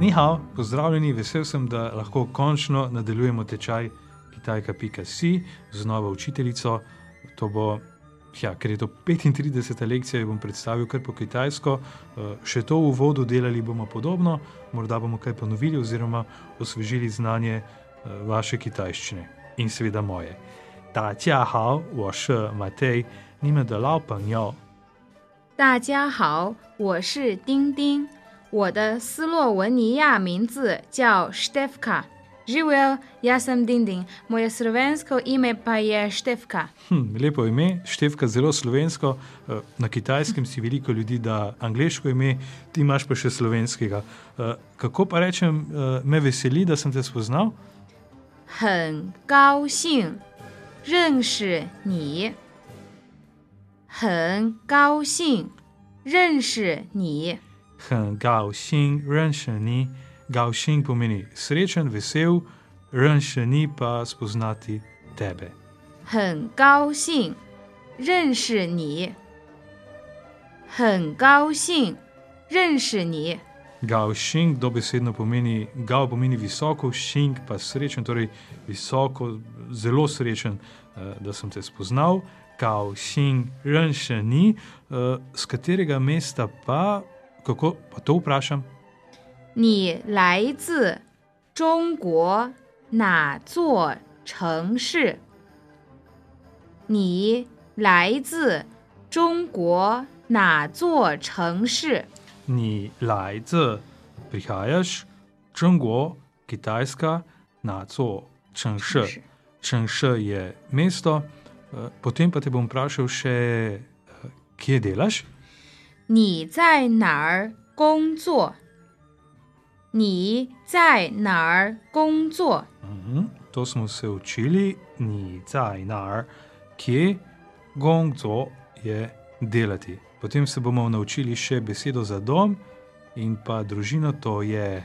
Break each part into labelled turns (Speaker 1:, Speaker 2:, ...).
Speaker 1: Ni hao, pozdravljeni, vesel sem, da lahko končno nadaljujemo tečaj kitajka.si z novo učiteljico. To bo, ja, ker je to 35. lekcija, jo bom predstavil kar po kitajsko. Eh, Še to v uvodu delali bomo podobno, morda bomo kaj ponovili oziroma osvežili znanje eh, vaše kitajščine in seveda moje. Ta tja hao, wash Matej, nime da lao panjo.
Speaker 2: 大家好，我是丁丁，我的斯洛文尼亚名字叫 Štefka。Živel, jaz sem Dindin, moje slovensko ime pa je Štefka.
Speaker 1: Hm, lepo ime, števka zelo slovensko, eh, na kitajskem si veliko ljudi da angliško ime, ti imaš pa še slovenskega. Eh, Kako pa rečem, eh, me veseli, da sem te spoznal?
Speaker 2: 很高兴认识你，很高兴认识你。
Speaker 1: Hm, Gao Xing, Renšeni, Gao Xing pomeni srečen, vesel, Renšeni pa spoznati tebe.
Speaker 2: 很高兴认识你，很高兴认识你，
Speaker 1: Gao Xing dobesedno pomeni, Gao pomeni visoko, Xing pa srečen, torej visoko, zelo srečen, eh, da sem te spoznal. Gao Xing Ren še ni, eh, z katerega mesta pa, kako pa to vprašam?
Speaker 2: 你来自中国哪座城市？你来自中国哪座城市？
Speaker 1: Ni lajce, prihajaš, Črngo, Kitajska, Naco, Črnš. Črnš je mesto, eh, potem pa te bom vprašal še, eh, kje delaš?
Speaker 2: 你在哪儿工作？你在哪儿工作？
Speaker 1: Mhm, To smo se učili, ni caj nar, kje gongzo je delati. Potem se bomo naučili še besedo za dom in pa družino, to je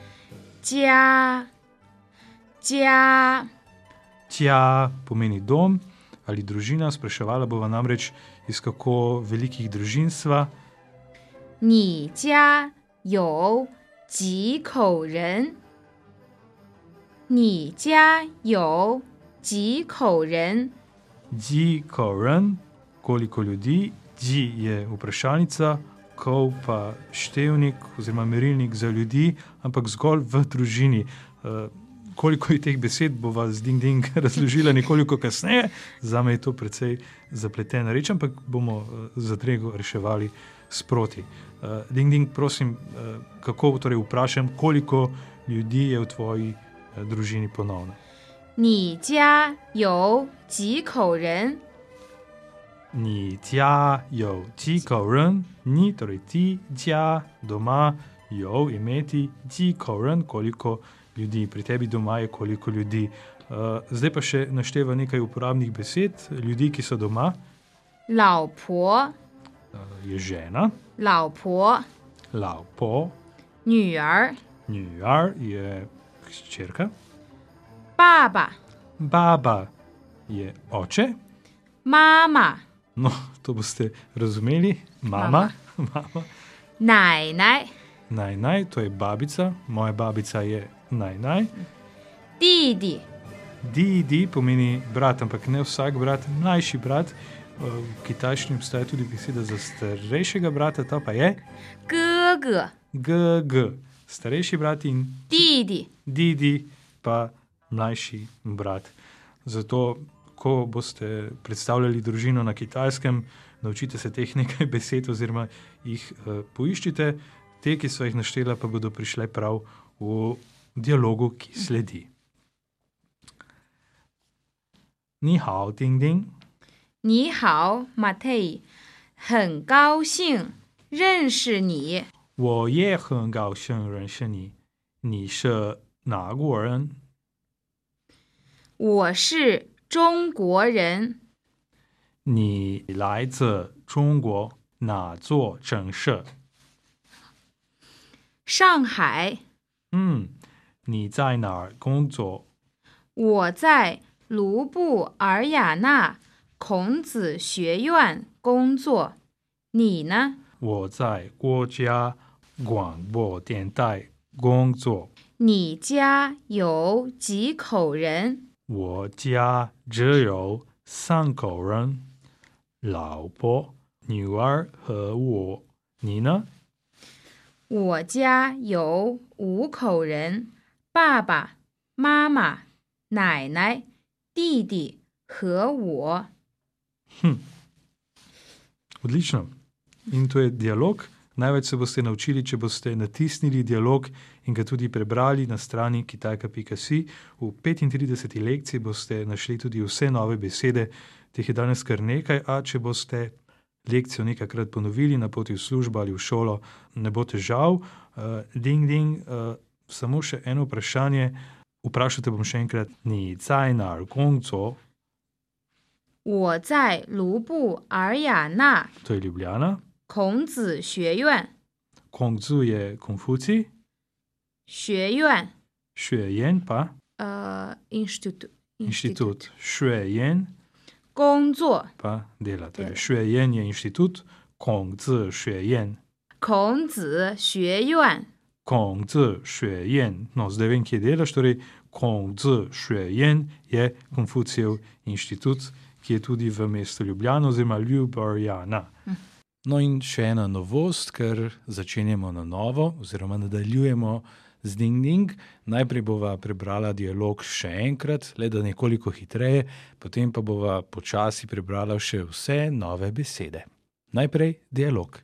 Speaker 2: 家，家，
Speaker 1: tja, pomeni dom ali družina. Spraševala bova namreč, iz kako velikih družin sva.
Speaker 2: 你家有几口人？你家有几口人？
Speaker 1: Ji koren, koliko ljudi, ji je vprašalnica, kov pa števnik oziroma merilnik za ljudi, ampak zgolj v družini. Eh, Koliko je teh besed, bova z Ding Ding razložila nekoliko kasneje, za me je to precej zapletena reč, ampak bomo eh, zadrego reševali sproti. Eh, Ding Ding, prosim, eh, kako torej vprašam, koliko ljudi je v tvoji eh, družini ponovno?
Speaker 2: 你家有几口人？
Speaker 1: 你家有几口人？你 torej ti 家 doma 有 imeti 几口人 koliko ljudi. Pri tebi doma je koliko ljudi. Uh, zdaj pa še našteva nekaj uporabnih besed. Ljudi, ki so doma,
Speaker 2: 老婆，
Speaker 1: uh, je žena,
Speaker 2: 老婆，
Speaker 1: lao po,
Speaker 2: 女儿，
Speaker 1: njar je hčerka,
Speaker 2: 爸爸，
Speaker 1: baba je oče.
Speaker 2: 妈妈，
Speaker 1: No, to boste razumeli, mama, mama.
Speaker 2: 奶奶，
Speaker 1: Naj naj, to je babica, moja babica je naj naj.
Speaker 2: 弟弟，
Speaker 1: Didi E pomeni brat, ampak ne vsak brat, mlajši brat. Eh, V kitajščini obstaja tudi beseda za starejšega brata, ta pa je
Speaker 2: 哥哥，
Speaker 1: GG. Starejši brat in
Speaker 2: 弟弟。
Speaker 1: Didi, pa mlajši brat. Zato, ko boste predstavljali družino na kitajskem, naučite se teh nekaj besed, oziroma jih eh, poiščite, te, ki so jih naštela, pa bodo prišle prav v dialogu, ki sledi. Ni hao, ding ding.
Speaker 2: 你好，Matei，很高兴认识你。
Speaker 1: 我也很高兴认识你。你是哪国人？
Speaker 2: 我是中国人，
Speaker 1: 你来自中国哪座城市？
Speaker 2: 上海，
Speaker 1: 嗯，你在哪儿工作？
Speaker 2: 我在卢布尔雅纳孔子学院工作。你呢？
Speaker 1: 我在国家广播电台工作。
Speaker 2: 你家有几口人？
Speaker 1: 我家只有三口人，老婆、女儿和我。你呢？
Speaker 2: 我家有五口人，爸爸妈妈、奶奶、弟弟和我。
Speaker 1: Odlično. In to je dialog. Največ se boste naučili, če boste natisnili dialog in ga tudi prebrali na strani kitajka.si. V 35 lekciji boste našli tudi vse nove besede, teh je danes kar nekaj, a če boste lekcijo nekajkrat ponovili na poti v službo ali v šolo, ne bo težav. Uh, ding, ding, uh, samo še eno vprašanje. Vprašate bom še enkrat, ni caj na Arkonco,
Speaker 2: 我在卢布尔雅纳
Speaker 1: to je Ljubljana,
Speaker 2: 孔子学院
Speaker 1: Kongzu je Konfuci,
Speaker 2: 学院
Speaker 1: Šuejen pa
Speaker 2: 呃 institute
Speaker 1: inštitut, Šuejen
Speaker 2: 工作。
Speaker 1: pa dela. Torej,
Speaker 2: Dela.
Speaker 1: Šuejen je inštitut, Kongzi Šuejen.
Speaker 2: 孔子学院
Speaker 1: Kongzi Šuejen, no zdaj vem, kje delaš, torej Kongzi Šuejen je Konfucijev inštitut, ki je tudi v mestu Ljubljana oziroma Ljubljana.
Speaker 3: No, in še ena novost, ker začenjamo na novo, oziroma nadaljujemo z Ding-Ding. Najprej bova prebrala dialog še enkrat, le da nekoliko hitreje, potem pa bova počasi prebrala še vse nove besede. Najprej dialog.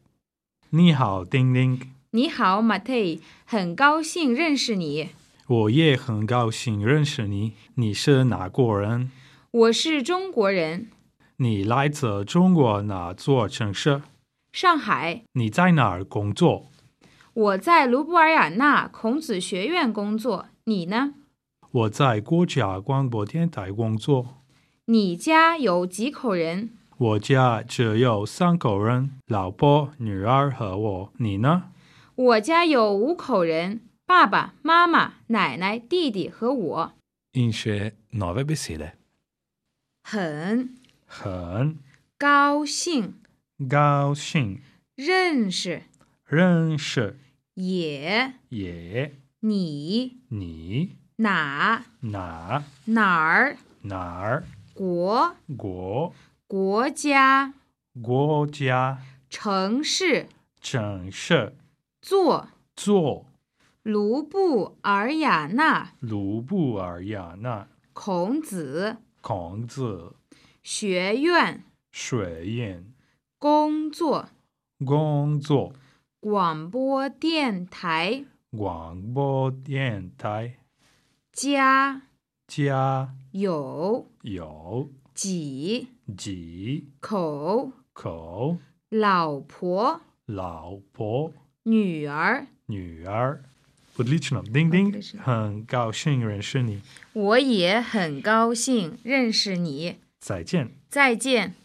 Speaker 1: 你好，丁丁，
Speaker 2: 你好，Matei，很高兴认识你。
Speaker 1: 我也很高兴认识你。你是哪国人？
Speaker 2: 我是中国人，
Speaker 1: 你来自中国哪座城市？
Speaker 2: 上海，
Speaker 1: 你在哪儿工作？
Speaker 2: 我在卢布尔雅纳孔子学院工作。你呢？
Speaker 1: 我在国家广播电台工作。
Speaker 2: 你家有几口人？
Speaker 1: 我家只有三口人，老婆、女儿和我。你呢？
Speaker 2: 我家有五口人，爸爸妈妈、奶奶、弟弟和我。
Speaker 3: In še nove besede.
Speaker 2: 很
Speaker 1: 很
Speaker 2: 高兴
Speaker 1: 高兴
Speaker 2: 认识
Speaker 1: 认识
Speaker 2: 也
Speaker 1: 也
Speaker 2: 你
Speaker 1: 你
Speaker 2: 哪
Speaker 1: 哪
Speaker 2: 哪儿
Speaker 1: 哪儿
Speaker 2: 国
Speaker 1: 国
Speaker 2: 国家
Speaker 1: 国家
Speaker 2: 城市
Speaker 1: 城市
Speaker 2: 座
Speaker 1: 座
Speaker 2: 卢布尔雅纳
Speaker 1: 卢布尔雅纳
Speaker 2: 孔子
Speaker 1: 孔子
Speaker 2: 学院
Speaker 1: 学院
Speaker 2: 工作
Speaker 1: 工作
Speaker 2: 广播电台
Speaker 1: 广播电台
Speaker 2: 家
Speaker 1: 家
Speaker 2: 有
Speaker 1: 有
Speaker 2: 几
Speaker 1: 几
Speaker 2: 口
Speaker 1: 口
Speaker 2: 老婆
Speaker 1: 老婆
Speaker 2: 女儿。
Speaker 1: 女儿。Odlično, ding ding,
Speaker 2: Odlično.
Speaker 1: 很高兴认识你，
Speaker 2: 我也很高兴认识你，
Speaker 1: 再见。
Speaker 2: 再见。